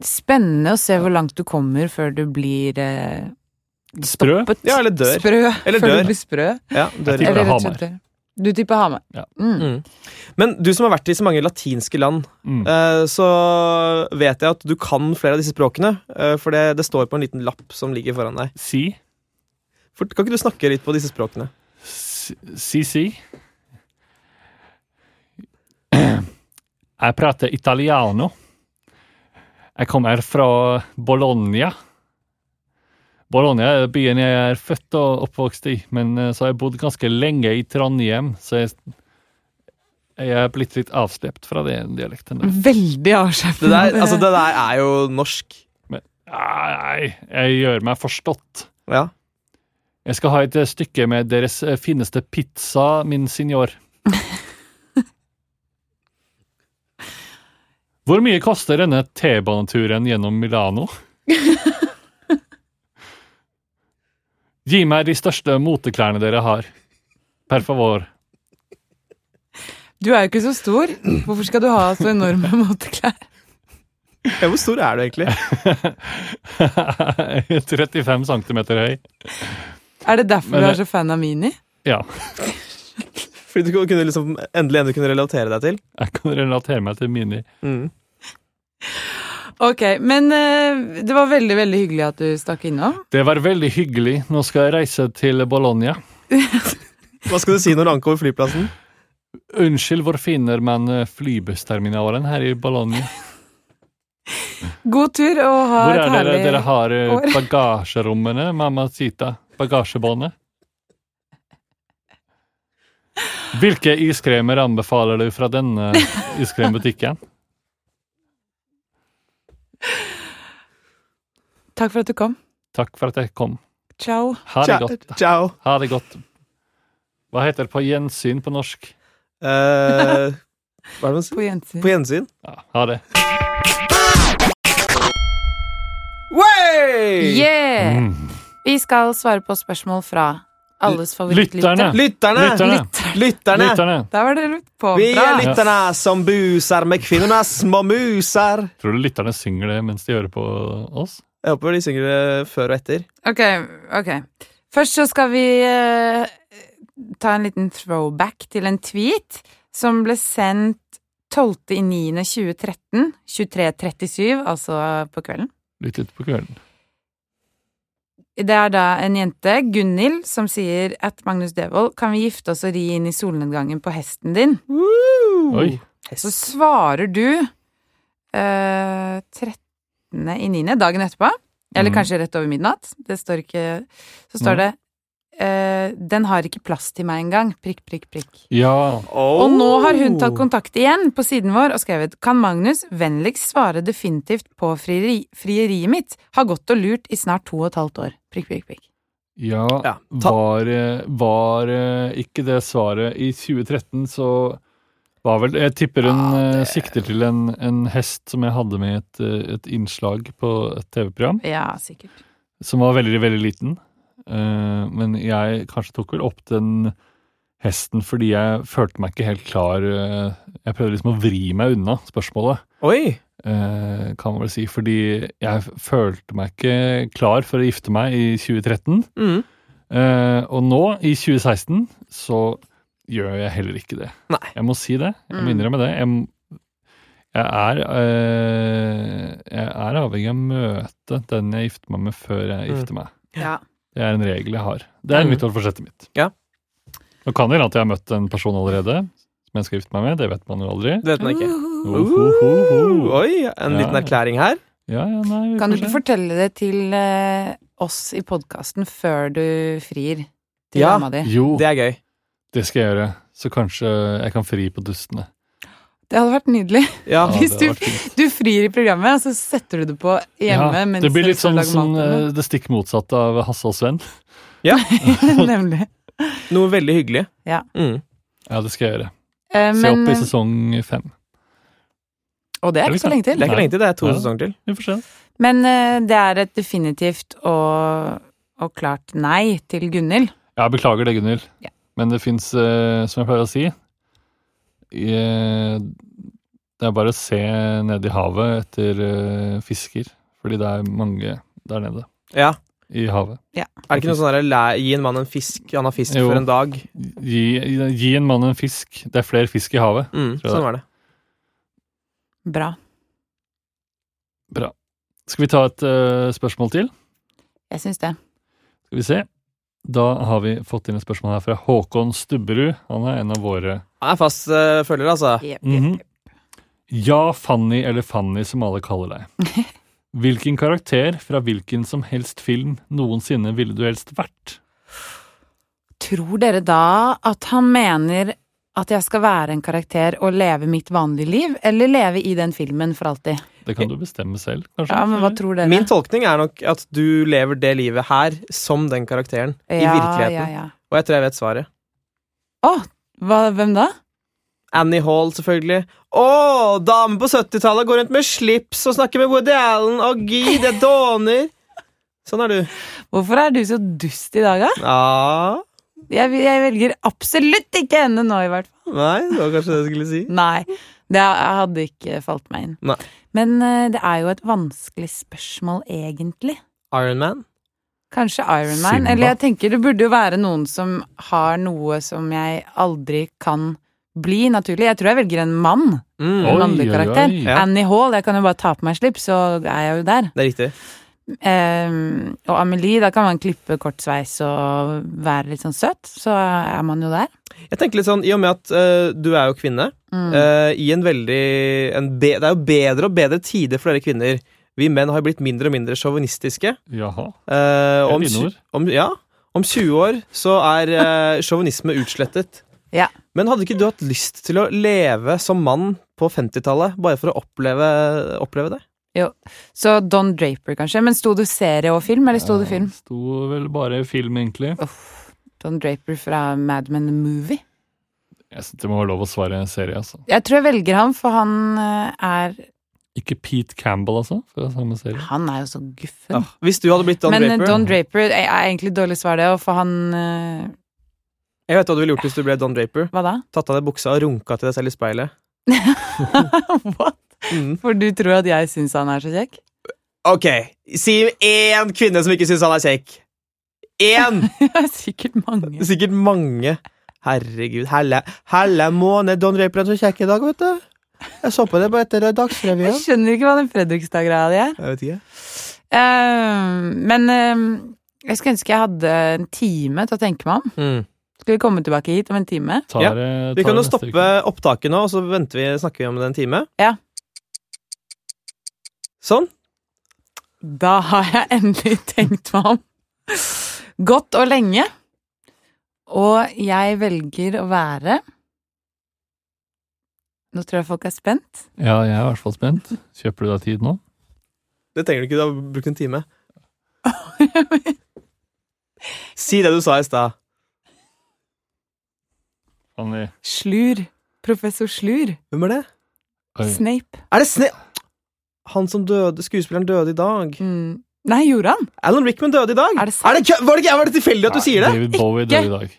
Spennende å se hvor langt du kommer før du blir eh, Sprø? stoppet. *laughs* Ja, eller dør. Sprø. Eller før dør. du blir sprø. *laughs* Ja, dør. tipper- det Eller rett og slett dør. Du tipper Hamar. Ja. Mm. Mm. Men du som har vært i så mange latinske land, mm. eh, så vet jeg at du kan flere av disse språkene. eh, For det, det står på en liten lapp som ligger foran deg. Si. For, kan ikke du snakke litt på disse språkene? Si, si. *clears throat* Jeg prater italiano. Jeg kommer fra Bologna. Bologna er byen jeg er født og oppvokst i, men eh, så har jeg bodd ganske lenge i Trondheim, så jeg, jeg er blitt litt avslept fra den dialekten. Der. Veldig Det *laughs* avslappende. der, altså, det der er jo norsk. Nei, jeg gjør meg forstått. Ja. Jeg skal ha et eh, stykke med deres eh, fineste pizza, min signor. Hvor mye koster denne T-baneturen gjennom Milano? Gi meg de største moteklærne dere har. Per favor. *laughs* *laughs* Du er jo ikke så stor. Hvorfor skal du ha så enorme *laughs* moteklær? ja, hvor stor er du *laughs* egentlig? 35 cm høy. Er det derfor Men du det- er så fan av Mini? Ja, Fordi du kunne liksom endelig en du kunne relatere deg til. jeg kan relatere meg til Mini. Mm. Ok, men eh, det var veldig, veldig hyggelig at du stakk innom. Det var veldig hyggelig. Nå skal jeg reise til Bologna. Hva skal du si når du ankommer flyplassen? Unnskyld, hvor finner man eh, flybussterminalen her i Bologna? God tur og ha Hvor et er dere? herlig Dere har eh, år. *laughs* bagasjerommene, mamma Sita. Bagasjebåndet. Hvilke iskremer anbefaler du fra denne iskrembutikken? Takk for at du kom. Takk for at jeg kom. Ciao. Ha det godt. Ciao. Ha det godt. Hva heter det på gjensyn på norsk? Eh, hva er det man sier? På gjensyn. På gjensyn. Ja, ha det. Way! Yeah! Mm. Eh, Vi skal svare på spørsmål fra alles favorittlytter. Lytterne. Lytterne! Lytterne. Lytterne! Lytterne. Der var dere på Vi er bra. lytterne som buser med kvinnene små muser. Tror du lytterne synger det mens de hører på oss? Jeg håper de synger det før og etter. Ok, ok. Først så skal vi eh, ta en liten throwback til en tweet som ble sendt 12.9.2013, 23.37, altså på kvelden. Litt ute på kvelden. Det er da en jente, Gunhild, som sier at Magnus Devold, kan vi gifte oss og ri inn i solnedgangen på hesten din? Oi. Så Hest. svarer du eh, 13. i 9. dagen etterpå, eller Mhm. Mm. kanskje rett over midnatt, det står ikke Så står Mhm. det eh, 'Den har ikke plass til meg engang', prikk, prikk, prikk. Ja. Oh. Og nå har hun tatt kontakt igjen på siden vår og skrevet 'Kan Magnus vennligst svare definitivt på frieri, frieriet mitt', har gått og lurt i snart to og et halvt år, prikk, prikk, prikk. Ja, Ja, ta- var, eh, var eh, ikke det svaret I 2013 så var vel Jeg tipper hun eh, sikter til en, en hest som jeg hadde med i et, eh, et innslag på et TV-program, Ja, sikkert. som var veldig, veldig liten. Eh, men jeg kanskje tok vel opp den hesten fordi jeg følte meg ikke helt klar eh, Jeg prøvde liksom å vri meg unna spørsmålet, Oi! eh, kan man vel si. Fordi jeg følte meg ikke klar for å gifte meg i 2013. Mm. Eh, og nå, i 2016, så gjør jeg heller ikke det. Nei. Jeg må si det. Jeg må Mm. innrømme det. Jeg, jeg, er, eh, jeg er avhengig av å møte den jeg gifter meg med, før jeg Mm. gifter meg. Ja. Det er en regel jeg har. Det er Mm. nyttårsforsettet mitt. Ja. Nå kan det hende at jeg har møtt en person allerede som jeg skal gifte meg med. Det vet man jo aldri. Det vet man ikke. Uhuhu. Ohohoho. Oi, en Ja. liten erklæring her. Ja, ja, nei, vi Kan du får ikke se. fortelle det til eh, oss i podkasten før du frir til Ja. dama di? Jo, Det er gøy. det skal jeg gjøre. Så kanskje jeg kan fri på dustene. Det hadde vært nydelig. *laughs* Ja. Ja, det Hvis hadde du- vært fint. Du frir i programmet, og så setter du det på hjemme. Ja, mens det blir du litt skal sånn lage som maten. eh, det stikk motsatte av Hasse og Sven. sånn, eh, *laughs* Nemlig. Noe veldig hyggelig. Ja. Mm. Ja, det skal jeg gjøre. Eh, Se men, opp i sesong fem. og det er ikke så lenge Det er til. ikke Nei. lenge til. Det er to Ja. sesonger til. Vi får se. Men eh, det er et definitivt og, og klart nei til Gunhild. Ja, beklager det, Gunhild. Ja. Men det fins, som jeg pleier å si eh, i, eh, Det er bare å se ned i havet etter eh, fisker. Fordi det er mange der nede Ja. i havet. Er det ikke noe sånn der, læ- Gi en mann en fisk, han har fisk Jo. for en dag. Gi, gi en mann en fisk. Det er flere fisk i havet. Mm, Tror jeg sånn var det. Bra. Bra. Skal vi ta et eh, spørsmål til? Jeg syns det. Skal vi se. Da har vi fått inn et spørsmål her fra Håkon Stubberud. Han er en av våre Han er fast eh, følger, altså. Mhm. Ja, Fanny eller Fanny, som alle kaller deg. *laughs* Hvilken karakter fra hvilken som helst film noensinne ville du helst vært? Tror dere da at han mener at jeg skal være en karakter og leve mitt vanlige liv, eller leve i den filmen for alltid? Det kan du bestemme selv, kanskje. Ja, men hva tror dere? Min tolkning er nok at du lever det livet her som den karakteren. I Ja, virkeligheten. Ja, ja. Og jeg tror jeg vet svaret. Å, hva, hvem da? Annie Hall, selvfølgelig. Å, damen på 70-tallet går rundt med slips og snakker med Woody Allen, og gi, det dåner. Sånn er du. Hvorfor er du så dust i dag, da? Ja Jeg, jeg velger absolutt ikke henne nå, i hvert fall. Nei, det var kanskje det jeg skulle si. Nei, det hadde ikke falt meg inn. Nei. Men eh, det er jo et vanskelig spørsmål, egentlig. Iron Man. Kanskje Iron Man. Simba. Eller jeg tenker det burde jo være noen som har noe som jeg aldri kan bli, naturlig. Jeg tror jeg velger en mann. Mm, Oi, En mannlig oi, karakter. oi. Ja. Annie Hall. Jeg kan jo bare ta på meg slips, så er jeg jo der. Det er riktig. Eh, og Amelie, da kan man klippe kort sveis og være litt sånn søt. Så er man jo der. Jeg tenker litt sånn, I og med at eh, du er jo kvinne Mm. eh, i en veldig en be, Det er jo bedre og bedre tider for dere kvinner. Vi menn har jo blitt mindre og mindre sjåvinistiske. Jaha. Eh, Det er om, dine tju- ord. om, ja, om 20 år så er eh, sjåvinisme utslettet. Ja. Men hadde ikke du hatt lyst til å leve som mann på 50-tallet, bare for å oppleve, oppleve det? Så Don Draper, kanskje. Men sto det serie og film, eller sto det film? Det sto vel bare film, egentlig. Uff. Don Draper fra Mad Men The Movie. Jeg synes Det må være lov å svare serie, altså. Jeg tror jeg velger ham, for han eh, er Ikke Pete Campbell, altså, fra samme serie. Han er jo så guffen. Ja. Hvis du hadde blitt Don Men eh, Draper Don Draper er er egentlig dårlig svar, det, og for han eh, Jeg vet hva du ville gjort hvis du ble Don Draper. Hva da? *laughs* Tatt av deg buksa og runka til deg selv i speilet. What? Mm. For du tror at jeg syns han er så kjekk? *laughs* Ok, si én kvinne som ikke syns han er kjekk. Én! Det er Sikkert mange. Sikkert mange. Herregud. Helle, helle måned, Don Draper er så kjekk i dag, vet du. Jeg så på det på etter Jeg Dagsrevyen. skjønner ikke hva den Fredrikstad-greia di er. Jeg vet ikke. Eh, men eh, jeg skulle ønske jeg hadde en time til å tenke meg om. Mm. Skal vi komme tilbake hit om en time? Tar, Ja, eh, Vi tar kan jo neste stoppe uke. opptaket nå, og så venter vi, snakker vi om det en time. Ja. Sånn. Da har jeg endelig *laughs* tenkt meg om. Godt og lenge. Og jeg velger å være Nå tror jeg folk er spent. Ja, jeg er i hvert fall spent. Kjøper du deg tid nå? Det trenger du ikke, du har brukt en *laughs* time. Si det du sa i stad. Kan vi- Slur. Professor Slur. Hvem er det? Oi. Snape. Er det Sne... Han som døde Skuespilleren døde i dag. Mm. Nei, gjorde han? Alan Rickman døde i dag! Er det sant? kø- var, det, ikke- var det tilfeldig at du Nei, sier det? David Bowie Ikke. døde i dag.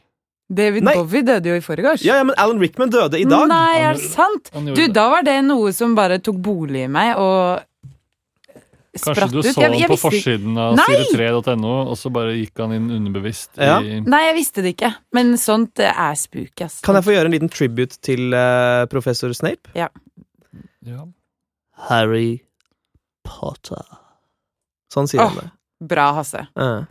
David Nei. Bowie døde jo i forgårs. Ja, ja, men Alan Rickman døde i dag. Nei, er Han- det sant? Han gjorde Du, det. da var det noe som bare tok bolig i meg og Kanskje spratt du ut. så Jeg- han jeg på visste ikke- forsiden av Nei! side3.no, og så bare gikk han inn underbevisst. Ja. I, Nei, jeg visste det ikke. Men sånt eh, er spooky, ass. Kan jeg få gjøre en liten tribute til eh, professor Snape? ja. Harry Potter. Sånn sier han det. Bra, Hasse. Ja.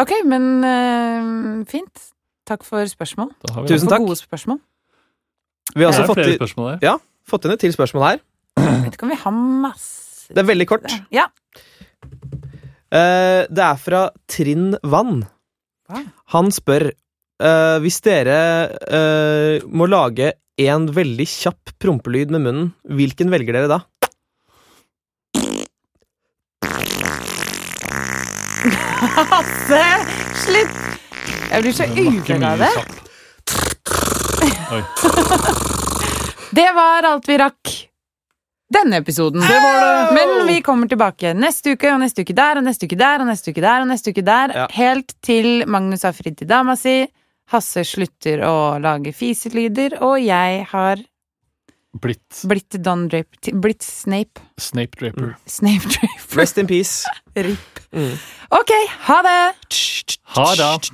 Ok, men eh, fint. Takk for spørsmål. Da har vi Tusen for takk. gode spørsmål. Vi Det har også er fått, flere i- spørsmål der. fått inn et til spørsmål her. Vet ikke om vi har masse Det er veldig kort. Ja. Eh, det er fra Trinn Vann. Hva? Han spør eh, hvis dere eh, må lage en veldig kjapp prompelyd med munnen, hvilken velger dere da? Hasse! Slutt! Jeg blir så Det var ikke uvel av mye det. kjapp. Det var alt vi rakk denne episoden. Men vi kommer tilbake neste uke og neste uke der og neste uke der og neste uke der. og neste uke der Ja. Helt til Magnus har fridd til dama si, Hasse slutter å lage fiselyder, og jeg har Blitt blitt Don Draper til- Blitt Snape. Snape Mm. Draper. Snape Draper. Rest in peace. Rip. Mm. Ok, ha det! Ha det!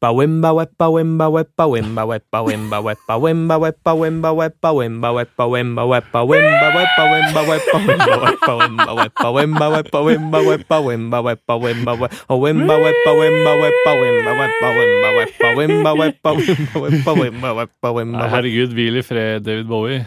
Bawimba weppa wimba weppa wimba weppa wimba weppa wimba weppa wimba weppa wimba weppa wimba weppa wimba weppa wimba weppa wimba weppa wimba weppa wimba weppa wimba weppa wimba weppa wimba we- oh, wimba weppa wimba weppa wimba weppa wimba weppa wimba weppa wimba weppa wimba weppa wimba Nei, weppa herregud, hvil i fred, David Bowie.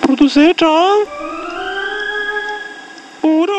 Produsert av Ordet.